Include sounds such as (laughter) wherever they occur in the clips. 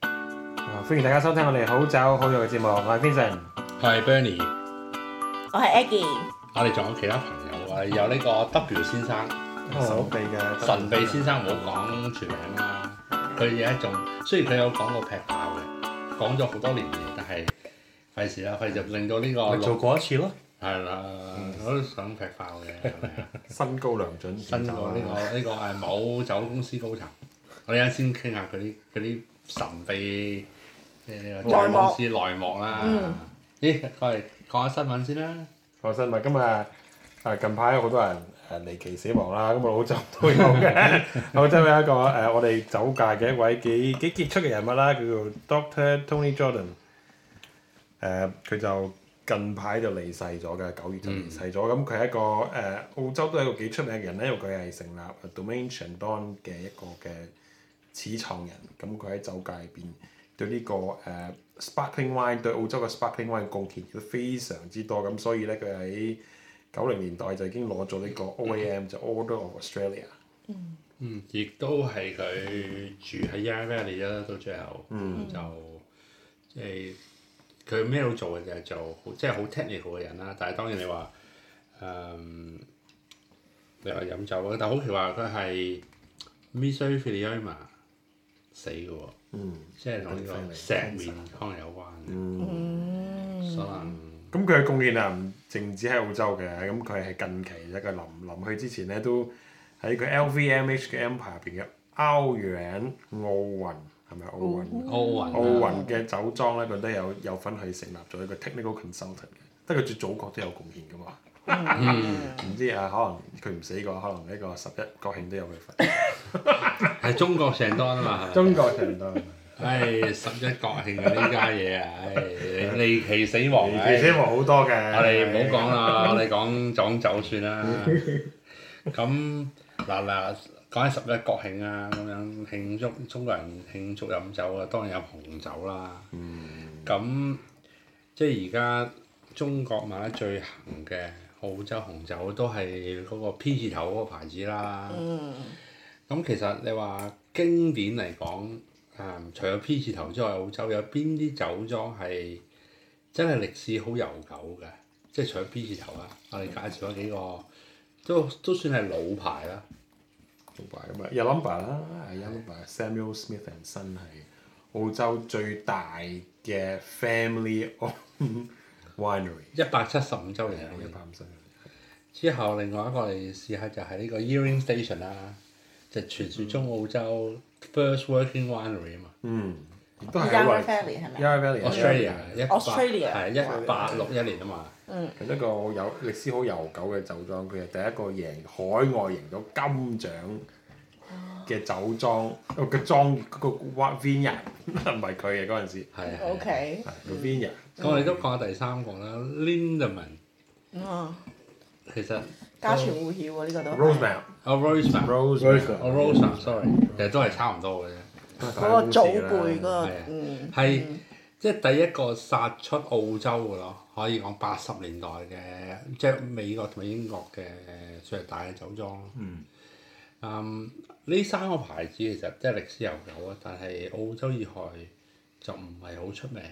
啊歡迎大家收聽我哋好酒好肉嘅節目，我係 Vincent。係 Bernie，我係 Aggie，我哋仲有其他朋友啊，有呢個 W 先生、神秘嘅哦神秘先生，唔好講全名啦。佢而家仲雖然佢有講過劈炮嘅，講咗好多年嘢，但係費事啦，費事令到呢個咪做過一次咯，嗯係啦，我都想劈 (laughs) 炮嘅，係咪啊？身高良準，新過呢個呢個係某酒公司高層，我哋一陣先傾下佢啲佢啲神秘誒酒公司內幕嗯啦。咦，我哋講下新聞先啦。個講新聞，今日啊近排有好多人誒離奇死亡啦，咁啊我澳洲都有嘅。澳洲有一個誒、呃我哋酒界嘅一位幾幾傑出嘅人物啦，叫做 Doctor Tony Jordan。誒、佢就近排就離世咗嘅，九月就離世咗。咁佢係一個誒、呃澳洲都係一個幾出名嘅人咧，因為佢係成立 Domain Chandon 嘅一個嘅始創人。咁佢喺酒界入邊對呢、個誒、呃 Sparkling Wine 對澳洲嘅 Sparkling Wine 貢獻都非常之多。咁所以咧，佢喺九零年代就已經攞咗呢個 OAM 就 Order of Australia。嗯，亦都係佢住喺 Yarra Valley 啦，到最後，嗯、就即係佢咩都做嘅，就係做好即係好 technical 嘅人啦。但係當然你話誒、嗯你話飲酒啦，啊但係好奇怪佢係 Missouri f i l i a m a 死嘅喎，嗯。即係同呢嗯個石面可能有關嘅，可能咁佢嘅貢獻啊，唔淨止喺澳洲嘅，咁佢係近期一個臨臨去之前咧，都喺佢 LVMH 嘅 Empire 入邊嘅歐元奧運係咪奧運？奧奧運啊運嘅酒莊咧，佢都有有份去成立咗一個 technical consultant 嘅，得佢對祖國都有貢獻噶嘛。嗯唔知啊，可能佢唔死過，可能呢個十一國慶都有佢份。係中國成多啊嘛，係咪中國成都唉十一國慶啊呢家嘢啊，唉離奇死亡啊，其實冇好多嘅。我哋唔好講啦，我哋講撞酒算啦。咁嗱嗱，講起十一國慶啊，咁樣慶祝中國人慶祝飲酒啊，當然有紅酒啦。咁、即係而家中國賣得最行嘅澳洲紅酒都係嗰個 P 字頭嗰個牌子啦。咁其實你話經典嚟講，嗯除咗 P 字頭之外，澳洲有邊啲酒莊係真係歷史好悠久嘅？即係除咗 P 字頭啦，我哋介紹咗幾個，都都算係老牌啦。老牌咁啊，有 number 啦，有 number。Samuel Smith and Son 係澳洲最大嘅 family owned (laughs) winery，一百七十五週年啊一啦百五十年。之後另外一個我哋試下就係呢個 Earing Station 啦，就傳説中澳洲 first working winery 啊嘛嗯，亦都係 Yarra 因 Valley 係咪？ Yarra Valley ，Australia 一八 Australia 係一八六一年啊嘛，係一個有歷史好悠久嘅酒莊，佢係第一個贏海外贏到金獎嘅酒莊，哦個莊嗰個 Vineyard (laughs) 唔係佢嘅嗰陣時，係啊。係啊 O K，係個 Vineyard 咁我哋都講下第三個啦，Lindemann 嗯，其實家傳戶曉喎呢個都係。 Rosemount。 a r o s e m a Rosemount a r o s e sorry，其實都係差唔多嘅啫。嗰個祖輩嗰係個啊，嗯，係即係第一個殺出澳洲嘅咯，可以講八十年代嘅，即係美國同埋英國嘅最大嘅酒莊咯。嗯嗯，呢三個牌子其實即係歷史悠久啊，但係澳洲以外就唔係好出名。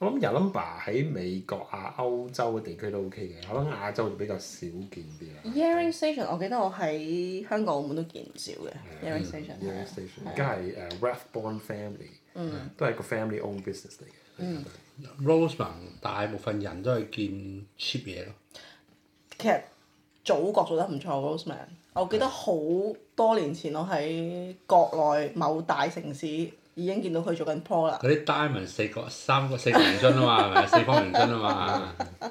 我諗 Yalumba 喺美國啊、歐洲嘅地區都 OK 嘅，我諗亞洲就比較少見啲啦。 Earring Station，我記得我喺香港、澳門都見唔少嘅 Earring Station，係 Yellow 啊 Station 而家係誒 Rathbone 嗯 Family，都係個 family owned business 嚟嘅。 Roseman 大部分人都係見 cheap 嘢咯，其實祖國做得唔錯 Roseman，我記得好多年前我喺國內某大城市已經見到佢做緊 pro 啦，嗰啲 diamond 四個三個四個圓樽啊嘛，係咪四方圓樽啊嘛？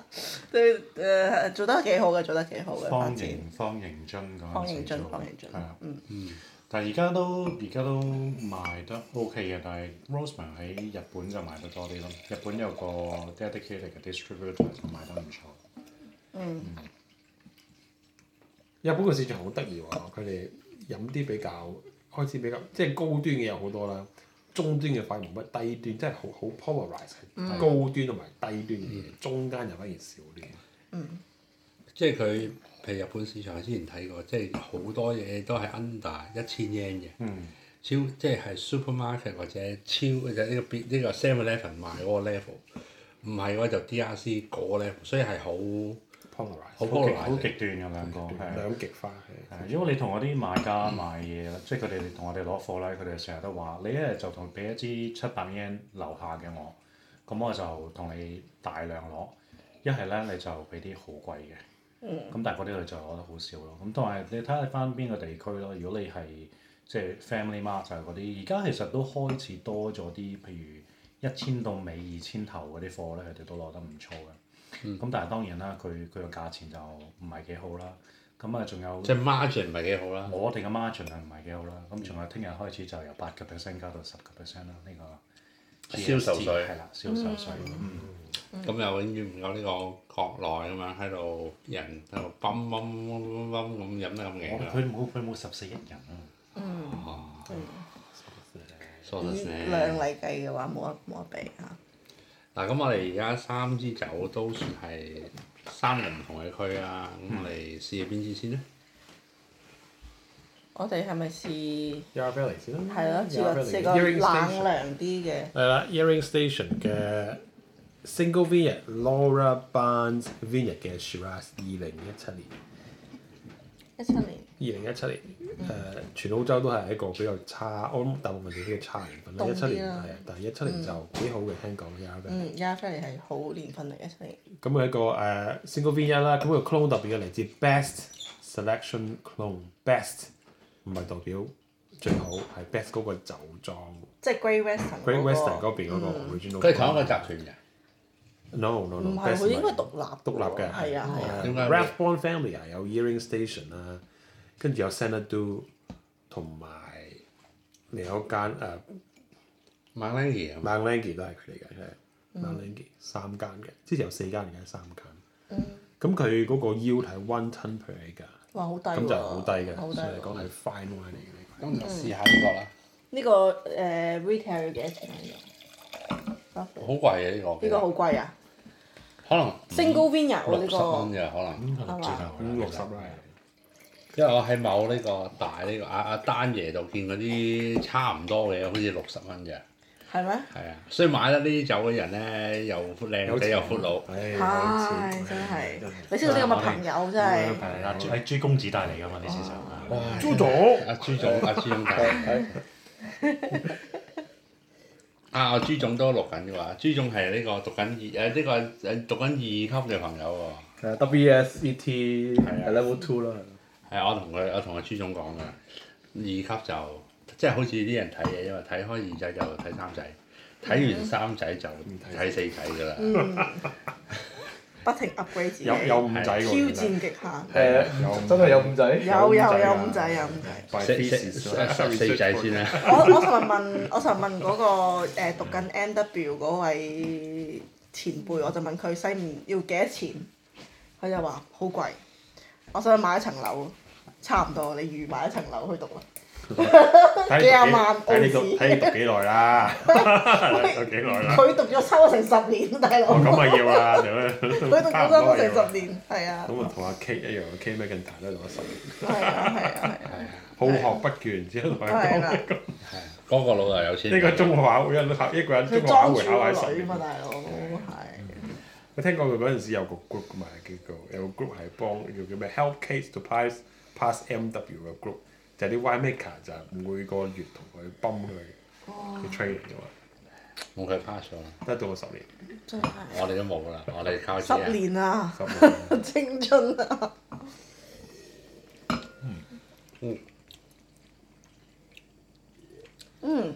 對誒呃做得幾好嘅，做得幾好嘅發方展。形方形樽嗰陣時方形樽做方形樽係啊，嗯但係而家都而家都賣得 OK 嘅，但係 Roseman 喺日本就賣得多啲咯。日本有個 dedicated 嘅 distributor 就賣得唔錯。嗯日本個市場好得意喎，佢哋飲啲比較開始比較即係高端嘅有好多啦，中端嘅反而冇乜，低端即係好好 polarize 嗯係高端同埋低端嘅嘢，中間就反而少啲。即係佢嗯譬如日本市場，我之前睇過，即係好多嘢都係 under 一千 yen 嘅。超即係 supermarket 或者超或者呢個邊呢個 Seven Eleven 賣嗰個 level，唔係嘅話就 DRC 嗰個 level，所以係好 polarise 好好極好 polarised 極端嘅兩個係。啊兩極化係因為你同嗰啲買家買嘢啦，即係佢哋同我哋攞貨咧，佢哋成日都話：你一日就同俾一支七百 yen 樓下嘅我，咁我就同你大量攞；一係咧你就俾啲好貴嘅。咁但係嗰啲你就攞得好少咯。咁同埋你睇下翻邊個地區咯。如果你係即係 family mart 就係嗰啲，而家其實都開始多咗啲，譬如一千到尾二千頭嗰啲貨咧，佢哋都攞得唔錯嘅。咁、但係當然啦，佢佢個價錢就唔係幾好啦。咁啊，仲有即係 margin 唔係幾好啦。我哋嘅 margin 係唔係幾好啦？咁仲有聽日開始就由八個 percent 加到十個 percent 啦，呢個銷售稅 GST 係啦，銷售稅。嗯咁又永遠唔夠呢個國內咁樣喺度人喺度泵泵泵泵泵咁飲得咁我勁啊！佢冇佢冇十四億人啊，所以以量嚟計嘅話，冇得冇得比啊嚇。嗱，咁我哋而家三支酒都算係三個唔同嘅區啦。咁我哋試下邊支先咧？我哋係咪試 Yarra Valley 先啦，係咯？試 Yarra 個 Valley 試個 Earring 冷 Station 涼啲嘅。係啦，Earring Station 嘅 Single Vineyard Laura Barnes Vineyard 嘅 Shiraz 二零一七年。一七年二零一七年，誒、呃全澳洲都係一個比較差，我諗大部分地區嘅差年份啦。凍一七啲啊嗯年啦係，啊但係一七年就幾好嘅，聽講 y a r r 嗯 y a r f a l 係好年份嚟，一七年。咁佢一個誒、single vineyard 啦，咁佢 clone 特別嘅嚟自 best selection clone，best 唔係代表最好，係 best 嗰個酒莊即係 Great Western Great 嗰個 Western 嗰邊嗰個 original。佢係同一個集團嘅。 No no 嗯唔 no，係 best 佢應該唔係獨立㗎喎獨立嘅係啊係啊，點解 r a t h b o r n Family 啊，有 Earring Station 啦，跟住有 Sanadu，同埋另有一間誒、馬拉爺啊嘛， Mount Langi 都係佢哋嘅，嗯真係 Mount Langi 三間嘅，之前有四間，而家三間。嗯咁佢嗰個 yield 係 one ton per acre，哇好低喎，咁就係好低嘅，好所以低嚟喎。講係 fine wine 嚟嘅呢個。咁就試下呢個啦。呢個誒 retail 幾多錢啊？好貴嘅呢個，呢個好貴啊可能！Single vineyard 喎嗯六十蚊呢嘅可能，應該六折頭五六十啦。啦，因為我喺某呢個大呢個啊阿阿丹爺度見嗰啲差唔多嘅，好似六十蚊嘅，個係咩？係啊。所以買得呢啲酒嘅人咧，又靚仔又闊佬，唉，有唉，錢真係你識到呢咁嘅朋友真係係啊，係朱公子帶嚟㗎嘛呢支酒。哇租咗阿朱總，阿朱總大。 (laughs) 啊！阿朱總都錄緊嘅話，朱總係呢個讀緊二誒呢個誒讀緊二級嘅朋友係啊，WSET 係啊係 level two 啦，喎，係我同佢我同阿朱總講㗎，二級就即係好似啲人睇嘢，因為睇開二仔就睇三仔，睇完三仔就睇四仔㗎啦。不停 upgrade 自己，有有五仔挑喎，戰極限。誒真係有五仔，有有有五仔有五仔。 by 四 thesis 啦四四仔先啦。我我尋日問，我尋日問嗰個誒讀緊 N W 嗰位前輩，我就問佢西面要幾多錢，佢就話好貴。我想去買一層樓，差唔多，你預買一層樓去讀 (laughs) 啦。睇幾廿萬澳你讀紙睇你讀幾耐啦，有幾耐啦？佢讀咗收咗成十年，大佬我。咁咪要啦，屌佢讀佢咗收咗成十年，係啊，咁啊，同阿 K 一樣，K m c i n t 都攞十年，係啊，係啊，好學不倦，之後同佢講係啊啦。嗰個老豆有錢。呢個中華會一考一個人中佢華裝會住考喺個十女嘛，年。嗯大佬係。我聽講佢嗰陣時有個 group 噶嘛，叫做有個 group 係幫叫叫咩 Help Kids to Pass Pass MW 嘅 group，就係啲 Y Maker 就係每個月同佢泵佢去 training 嘅嘛，冇佢 pass 咗啦，得到我十年， (laughs) 真係我哋都冇啦，我哋靠自己十人。年啊，十年 (laughs) 青春啊！嗯嗯，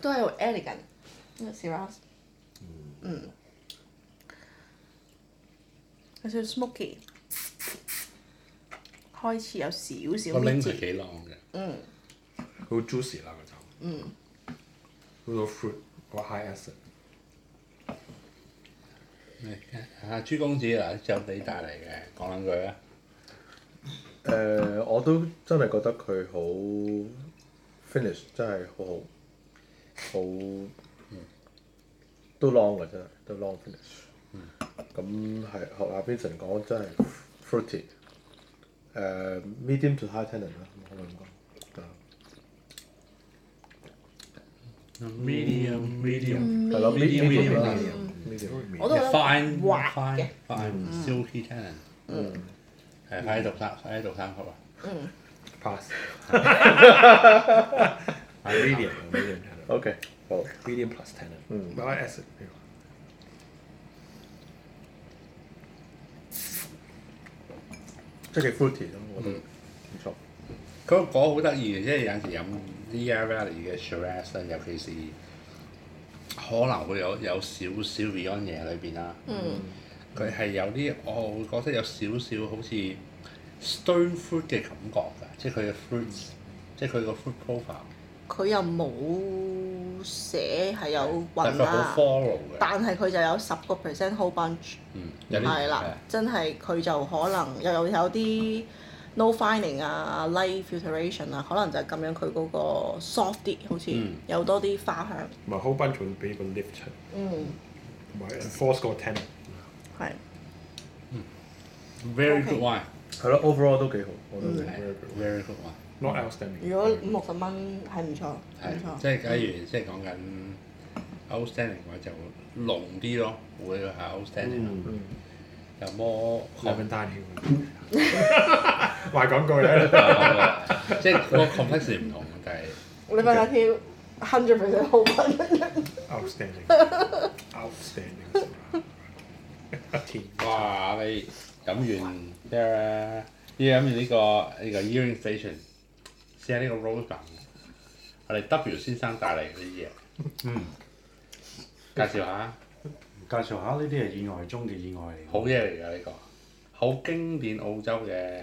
都係好 elegant 呢個 Shiraz，嗯，有少少 smoky，開始有少少我拎搣佢字，幾浪嘅，嗯好 juicy 啦個嗯，酒，好多 fruit，好 high acid。阿啊朱公子嗱，就你帶嚟嘅，講兩句啊。誒呃我都真係覺得佢好 finish 真係好好，好嗯都 long 嘅真係都 long finish。咁係學阿 Vincent 講真係 fruity，誒 medium to high tannin 啦，可唔可以咁講？啊 medium 嗯 medium 係咯 medium ，medium 啦 medium ，medium 我都覺得 fine 滑 fine 嘅 fine silky tannin 嗯係快啲讀三快啲讀三級啊 (laughs) pass medium medium OK，好 medium plus ten 嗯 m i acid 即係幾 fruity 咯，我嗯覺得唔錯。佢個果好得意嘅，即係有陣時飲 Dear Valley 嘅 Shiraz 咧，尤其是可能會有有少少 Beyond 嘢裏邊啦。嗯，佢係有啲我會覺得有少少好似 stone fruit 嘅感覺㗎，即係佢嘅 fruits，即係佢個 fruit 啊 profile，佢又冇寫係有但係雲佢好啦， follow 嘅。但係佢就有十個 percent whole bunch，嗯，有啲係啦，真係佢就可能又有有啲 no fining 啊、light filtration 啊，可能就係咁樣佢嗰個 soft 啲，好似嗯有多啲花香，同埋 whole bunch 會俾個 lift 出，嗯，同埋 force 個 ten。係 very OK good wine，係咯，overall 都幾好，我覺得係 very good。 very good wine， Not outstanding。如果五六十蚊係唔錯，唔嗯係啊錯。即係假如即係講緊 outstanding 嘅話就濃啲咯，會係啊 outstanding 咯嗯，有 more 兩分單 (laughs) 添。賣廣告咧， (laughs) 即係個 complexity 唔同，但係你問下條 hundred percent 好品， outstanding。outstanding。甜哇！你飲完咩啊？依家飲完呢、個呢、個 Earing Station，試下呢個 Rose b 我哋 W 先生帶嚟嘅嘢，嗯，介紹下，介紹下呢啲係意外中嘅意外嚟。好嘢嚟㗎呢個，好經典澳洲嘅，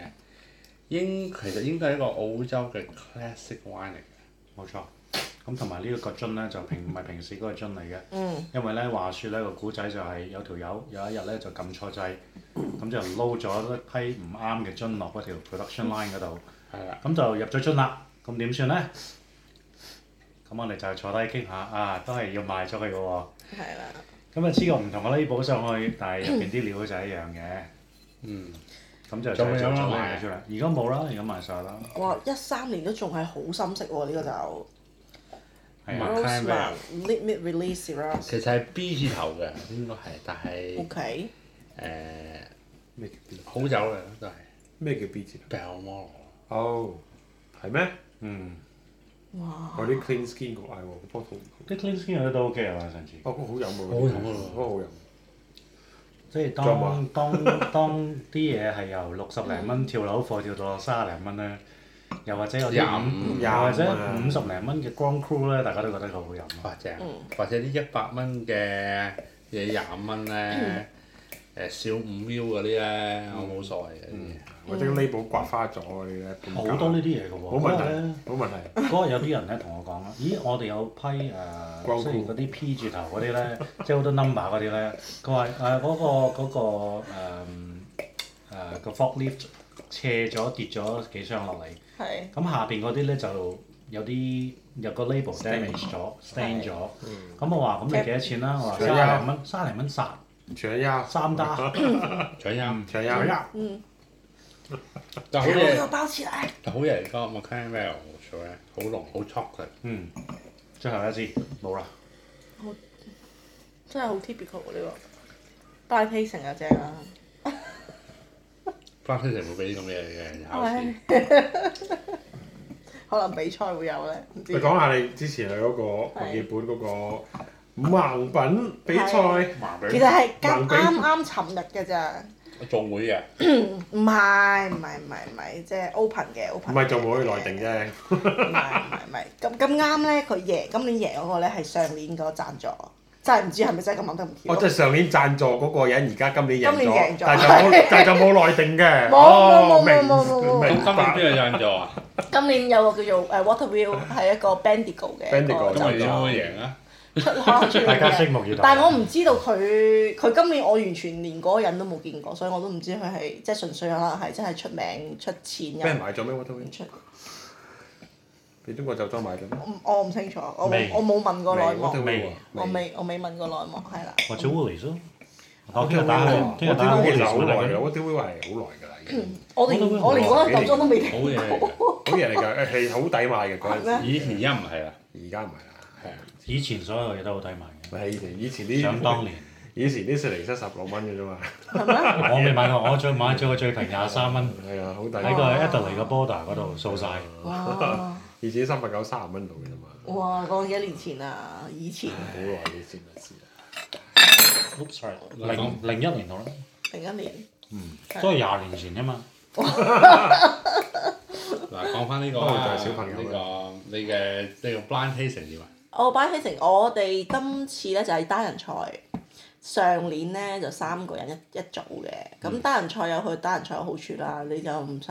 應其實應該係一個澳洲嘅 classic wine 嚟嘅。冇錯。咁同埋呢一個樽咧就平唔係平時嗰個樽嚟嘅，嗯，因為咧話説咧個古仔就係有條友有一日咧就撳錯掣， (coughs) 咁就撈咗一批唔啱嘅樽落嗰條 production line 嗰度，嗯係啦，咁就入咗樽啦。咁點算咧？咁我哋就坐低傾下啊，都係要賣咗佢嘅喎。係啦。咁啊黐個唔同嘅 label 上去，但係入邊啲料就一樣嘅。嗯，咁就仲有製作咗冇呢賣啊樣嘢出嚟。而家冇啦，而家賣晒啦。哇！一三年都仲係好深色喎，呢個就嗯係啊， Maclaren Roseman Limit Release Shiraz。其實係 B 字頭嘅，應該係，但係 O 誒、 K，咩叫 B？好酒嚟都係咩叫 B 字？ Belmore，哦，係咩？嗯，哇！我啲 clean skin 個嗌喎，個 bottle。啲 clean skin 都 OK 啊，上次。哦，好飲喎。好飲啊好好飲。即係仲有冇啊當當 (laughs) 當啲嘢係由六十零蚊跳樓貨跳到落三十零蚊咧，又或者有啲廿五又或者廿五啊五十零蚊嘅 Grand Cru 咧，大家都覺得佢好飲。啊或者或者啲一百蚊嘅嘢廿五蚊咧，誒少五 U 嗰啲咧，我冇所謂嘅啲嘢。或者 label 刮花咗嗰啲咧，半價好多呢啲嘢嘅喎。冇問不過咧題，冇問題。嗰日有啲人咧同我講啦，咦，我哋有批誒，光顧即係嗰啲 P 字頭嗰啲咧， (laughs) 即係好多 number 嗰啲咧，佢話誒嗰個嗰個誒誒個 forklift 斜咗跌咗幾箱落嚟，係咁下邊嗰啲咧就有啲有個 label damage 咗 stain 咗，咁我話咁你幾多錢啦？我話仲有三零蚊，三零蚊殺 (laughs) 全家，三打，搶音，全家，但好我嘢要，包起來。但好嘢嚟講 m c l a r e l 做咧，好濃，好 chocolate。嗯，最後一支冇啦，真係好 typical 喎呢個。但係 tasting 又正啊，花生成會俾啲咁嘅嘢嘅考試唉， (laughs) 可能比賽會有咧，唔知你。講下你之前去嗰個墨爾本嗰個盲品比賽，麻其俾實係啱啱啱尋日嘅咋，我仲會嘅，唔係唔係唔係唔係，即係 open 嘅 open 唔嘅。係做冇去內定啫。唔係唔係唔係，咁咁啱咧，佢贏今年贏嗰個咧係上年嗰個贊助，真係唔知係咪真係咁啱得咁巧。我哦即係上年贊助嗰個人，而家今年贏哦今年咗贏咗，但係就 (laughs) 冇，但係就冇內定嘅。冇哦冇冇明冇冇冇冇咁明今年邊白。個贊助啊？今年有個叫做誒 Waterview 係一個 Bendigo 嘅 Bendigo，咁我哋贊點助會贏啊？出可能出 (laughs) 大家嘅。拭目以待。但係我唔知道佢佢今年我完全連嗰個人都冇見過，所以我都唔知佢係即係純粹可能係真係出名出錢俾人又買咗咩 w a t 出，俾中國酒莊買咗咩？我我唔清楚，我未我冇問過內幕， Waterway 未我未我未問過內幕係啦。或者 Woolies 咯，我聽日打去，我聽日啲打會其去實好耐 Woolies 買㗎佢。我啲會係好耐㗎啦，已經我連我連嗰個酒莊都未聽好嘢嚟嘅，好嘢嚟㗎，係好抵買嘅嗰陣時咩咦？而家唔係啦，而家唔係啦，係啊，以前所有嘢都好低迷係以前以前嘅，想當啲 (laughs) 年以前啲雪梨七十六蚊嘅啫嘛，我未買過，我最買咗個最平廿三蚊，係啊，好喺抵。個 Adelaide 嘅 border 嗰度掃晒。哇！以前三百九三十蚊度嘅啫嘛，哇！講幾年前啊，以前好耐以前嘅事啊啦。 Oops, sorry，零零一年度啦，零一年，都係廿年前啫嘛。嗱，講翻呢個不過就啦，係小朋友呢個你嘅呢個 blind tasting 點啊？我擺起成我哋今次咧就係單人賽，上年咧就三個人一一組嘅，咁單人賽有佢單人賽嘅好處啦，你就唔使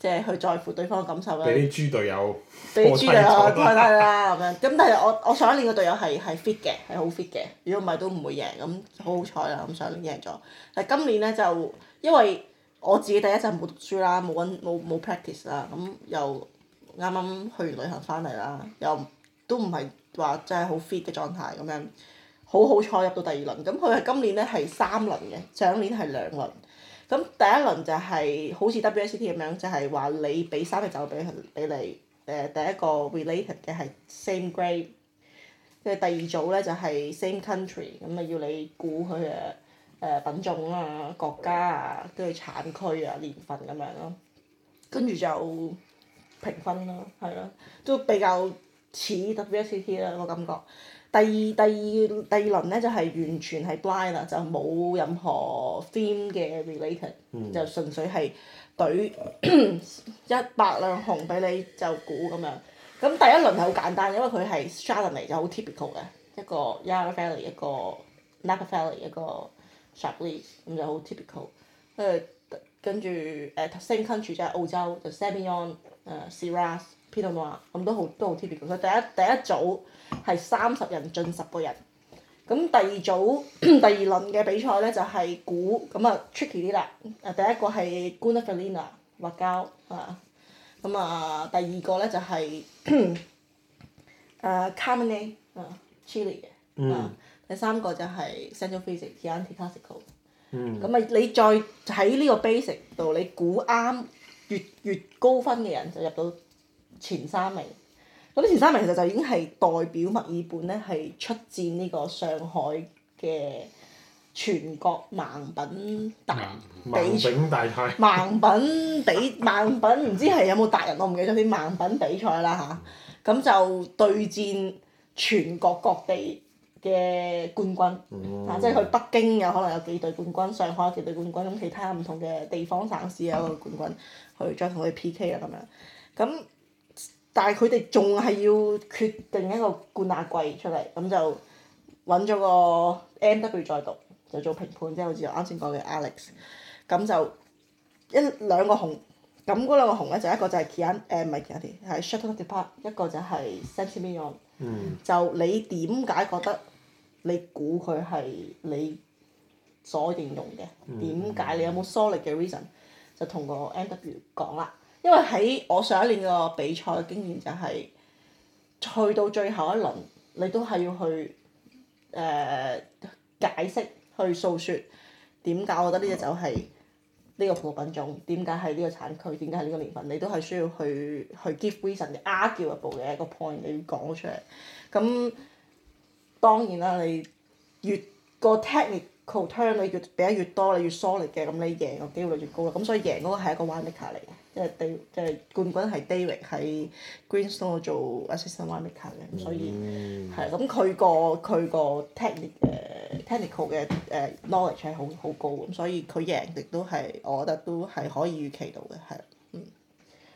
即係去在乎對方嘅感受啦。俾啲豬隊友俾豬嚟我我睇咗太低啦咁樣。咁但係我我上一年個隊友係係 fit 嘅，係好 fit 嘅。如果唔係都唔會贏，咁好好彩啦。咁上年贏咗，但係今年咧就因為我自己第一陣冇讀書啦，冇温冇冇 practice 啦，咁又啱啱去完旅行翻嚟啦，又都唔係話真係好 fit 嘅狀態咁樣。好好彩入到第二輪，咁佢係今年咧係三輪嘅，上年係兩輪。咁第一輪就係、好似 WSET 咁樣，就係、話你俾三隻酒俾佢俾你，誒、呃第一個 related 嘅係 same grade，即係第二組咧就係、same country，咁啊要你估佢嘅誒品種啊、國家啊、跟住產區啊、年份咁樣咯，跟住就評分啦，係啦，都比較似 WSET 啦個感覺。第二第二第二輪咧就係、完全係 blind 啦，就冇任何 theme 嘅 related，、就純粹係懟一百兩紅俾你就估咁樣。咁第一輪係好簡單，因為佢係 s t r a t e g y 就好 typical 嘅一個 Yarra Valley 一個 Napa Valley 一個 Chablis 咁就好 typical。跟住跟住誒 same country 就係澳洲就 s a b i g n o n 誒、Shiraz Pinot Noir 咁都好都好 typical。佢第一第一組係三十人進十個人。咁第二組 (clears throat) 第二輪嘅比賽咧就係、估，咁啊 tricky 啲啦。誒第一個係 g u n a f e l i n a 滑膠啊，咁啊第二個咧就係、 (clears throat) 誒 c a r m e n a 啊 Chili 嗯嘅，嗯啊第三個就係 Central Physics Chianti Classical。咁啊，你再喺呢個 basic 度，你估啱越越高分嘅人就入到前三名。咁前三名其實就已經係代表墨爾本咧，係出戰呢個上海嘅全國盲品大猛比賽。整大太。盲品比盲品唔知係有冇達人，我唔記得咗啲盲品比賽啦吓，咁、就對戰全國各地嘅冠軍，啊，即係佢北京有可能有幾隊冠軍，上海有幾隊冠軍，咁其他唔同嘅地方省市有一個冠軍，去再同佢 P.K. 啊咁樣，咁但係佢哋仲係要決定一個冠亞季出嚟，咁就揾咗個 M.W. 再讀，就做評判，即係好似我啱先講嘅 Alex，咁就。一兩個紅，咁嗰兩個紅咧就一個就係 Kian 誒唔係 Kian 啲，係 s h u t t l e Depart，一個就係 Sentimion。就你點解覺得你估佢係你所形容嘅？點解、你有冇 solid 嘅 reason？就同個 NW 講啦，因為喺我上一年個比賽嘅經驗就係、去到最後一輪，你都係要去誒、呃解釋去訴說點解我覺得呢隻酒係。呢個葡萄品種點解係呢個產區，點解係呢個年份，你都係需要去去 give reason 嘅 arguable 嘅一個 point，你要講出嚟。咁當然啦，你越個 technical term 你越俾得越多，你越 solid 嘅，咁你贏嘅機會率越高啦。咁所以贏嗰個係一個 winemaker 嚟嘅，即係 Dave- 即係冠軍係 David 喺 Greenstone 做 assistant winemaker 嘅，咁所以係啊咁佢個佢個 technic 誒 technical 嘅誒 knowledge 係好好高，咁所以佢贏亦都係我覺得都係可以預期到嘅，係啦嗯。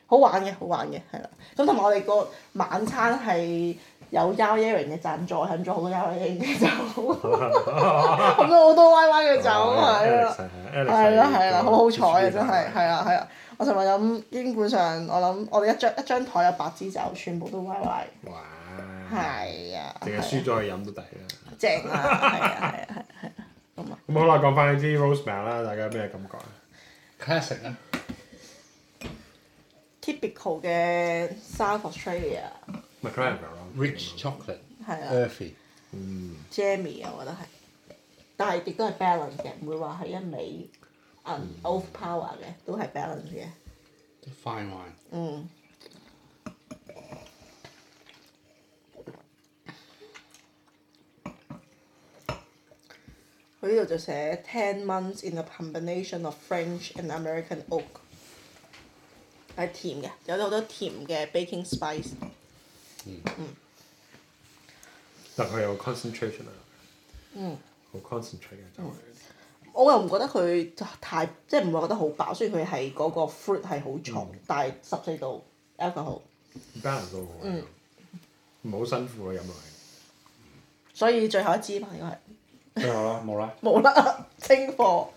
好玩嘅，好玩嘅，係啦。咁同埋我哋個晚餐係有 y a r i n g 嘅贊助，飲咗好多 y a r i n g 嘅酒，飲咗好多 Y Y 嘅酒，啊係啦。係係啦係啦，好好彩啊！真係係啊係啊！我尋日飲，基本上我諗我哋一張一張台有八支酒，全部都歪歪。哇！係啊，淨係係輸咗啊去飲都抵啦。正啊！係啊係啊係啊係啊！咁啊，咁好啦，講翻呢支 Rosemary 啦，大家有咩感覺啊？ classic 啊， typical 嘅 South Australia m c l a r e n 咯 rich chocolate 係啊 earthy， ，Jammy 啊，我覺得係，但係亦都係 balance 嘅，唔會話係一味銀 overpower 嘅，都係 balance 嘅。 fine wine。嗯，佢呢度就寫 ten months in a combination of French and American oak，係甜嘅，有好多甜嘅 baking spice。但佢有 concentration 啊，嗯，好 concentrate 嘅就係我又唔覺得佢太即係唔會覺得好飽，雖然佢係嗰個 fruit 係好重，但係十四度 alcohol， balance 到好嗯，唔好辛苦咯飲落所以最後一支嘛應該係最後啦，冇啦，冇啦，清貨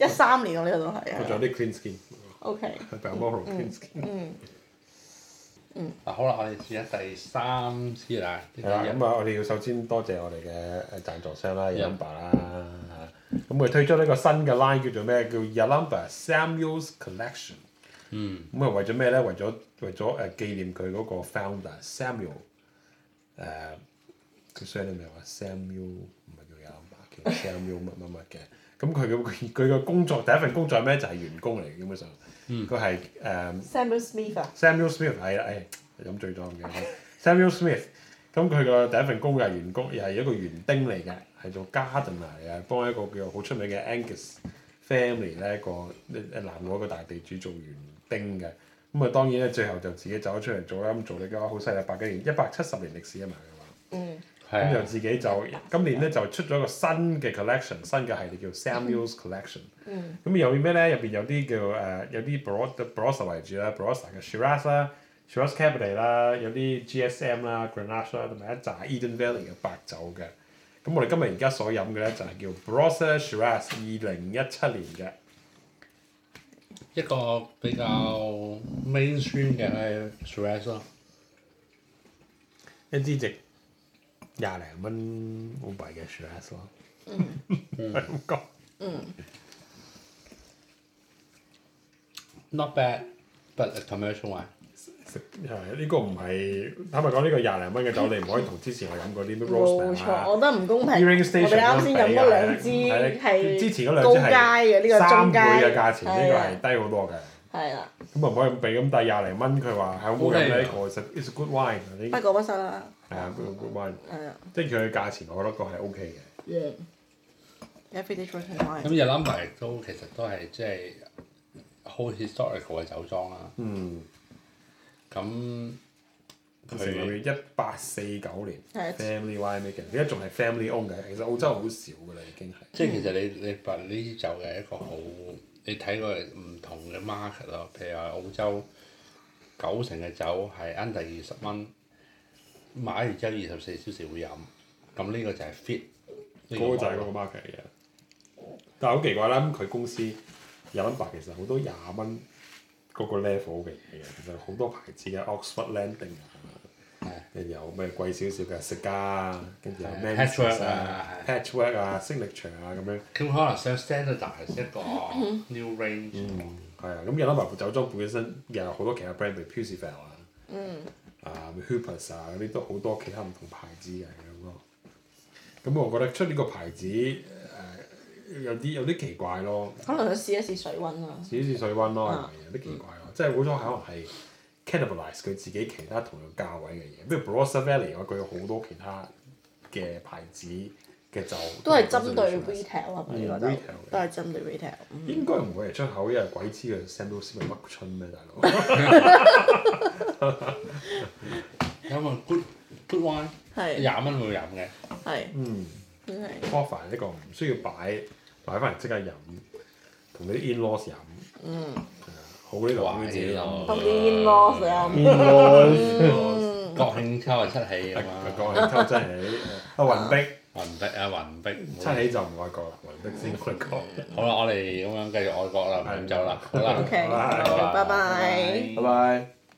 一三年我呢度都係去，佢啊仲有啲 clean skin， ，OK，係 b a l m o r a l clean skin。嗯，嗱，好啦，我哋試下第三支啦，呢係啦，支咁啊，我哋要首先多謝我哋嘅誒贊助商嗯啦 y a m b a 啦，咁佢推出呢個新嘅 line 叫做咩？叫 y a l a m b a Samuels Collection。嗯。咁啊，為咗咩咧？為咗為咗誒紀念佢嗰個 founder Samuel 誒，佢 s u r n a 話 Samuel 唔係叫 y a l a m b a 叫 Samuel 乜乜乜嘅。咁佢嘅佢佢嘅工作第一份工作係咩？就係員工嚟嘅，基本上，嗯佢係誒。 Samuel Smith 啊， Samuel Smith 係啦，誒飲醉咗唔記得。Samuel Smith 咁佢個第一份工嘅係員工，又係一個園丁嚟嘅，係做 gardener 嚟嘅，幫一個叫好出名嘅 Angus family 咧一個誒南澳一個大地主做園丁嘅。咁啊當然咧，最後就自己走咗出嚟做啦。咁做你嘅話好犀利，百幾年一百七十年歷史啊嘛佢話。嗯，係咁啊就自己就今年咧就出咗個新嘅 collection，新嘅系列叫 Samuel's Collection。嗯咁有啲咩咧？入邊有啲叫誒、呃有啲 Barossa Barossa 為主啦，Barossa 嘅 Shiraz 啦，Shiraz Cabernet 啦，有啲 GSM 啦，Grenache 啦，同埋一紮 Eden Valley 嘅白酒嘅。咁我哋今日而家所飲嘅咧就係叫 Barossa Shiraz 二零一七年嘅。一個比較 mainstream 嘅係 Shiraz 咯，一支值廿零蚊澳幣嘅 Shiraz 咯。嗯， (laughs) 係咁講。 not bad，but a commercial one。食係呢個唔係坦白講，呢個廿零蚊嘅酒，你唔可以同之前我飲嗰啲咩 roast 冇 man 啊錯，我覺得唔公平。 Earring 我 Station 哋啱先飲嗰兩支係係之前嗰兩高支係階嘅呢個三中倍階嘅價錢，係啊呢個係低好多嘅。係啦，咁啊唔可以咁俾咁，但係廿零蚊佢話係哎好冇啊飲呢個，it's a- it's a good wine 嗰啲不過不失啦，係啊，good good wine，係啊，即係佢嘅價錢，我覺得個係 OK 嘅。嗯，everyday drinking 咁 wine，日諗埋都其實都係即係好 historical 嘅酒莊啦。嗯，咁成立佢於一八四九年係啊 family wine making，而家仲係 family own 嘅，其實澳洲好少㗎啦已經係。即係其實你你白呢支酒嘅一個好，你睇過唔同嘅 market 咯，譬如話澳洲九成嘅酒係 under 二十蚊，買完之後二十四小時會飲。咁呢個就係 fit 呢嗰個就係網嗰個咯 market 嚟嘅。但係好奇怪啦，咁佢公司有 number 其實好多廿蚊嗰個 level 嘅嘢嘅，其實好多牌子嘅 Oxford Landing 啊係，跟住有咩貴少少嘅食家啊，跟住有係 m a n c Patchwork h 啊啊、 Patchwork 啊、Signature 啊咁樣，佢可能想 standardize 一個 new range，係啊，咁有 number 酒莊本身又有好多其他 brand，譬如 p u s i f e l 啊，嗯啊 Hoopers 啊嗰啲都好多其他唔同牌子嘅咁咯。咁我覺得出呢個牌子誒、有啲有啲奇怪咯。可能佢試一試水啊温啦，少少水温咯，係啊咪有啲奇怪咯？即係好多可能係 cannibalize 佢自己其他同樣價位嘅嘢，譬如 Barossa Valley 嘅話，佢有好多其他嘅牌子嘅酒都係針對都係 retail 係咪嗯呢個就 retail 都係針對 retail，嗯應該唔會係出口，因為鬼知佢 Samuel Smith 乜春咩大 (laughs) 佬，因為 good good wine 係廿蚊會飲嘅，係嗯真係 offer 呢個唔需要擺擺翻嚟即刻飲，同你啲 in laws 飲，嗯，係啊好呢度咁樣自己飲。同啲 in laws 啊， in laws，嗯，國慶秋係七喜啊嘛，講起真係阿雲碧雲碧啊雲碧，唔好七喜就唔愛國啦，雲碧先愛國。好啦，我哋咁樣繼續愛國啦，唔飲酒啦，好啦。 OK，好啦好拜拜。拜拜。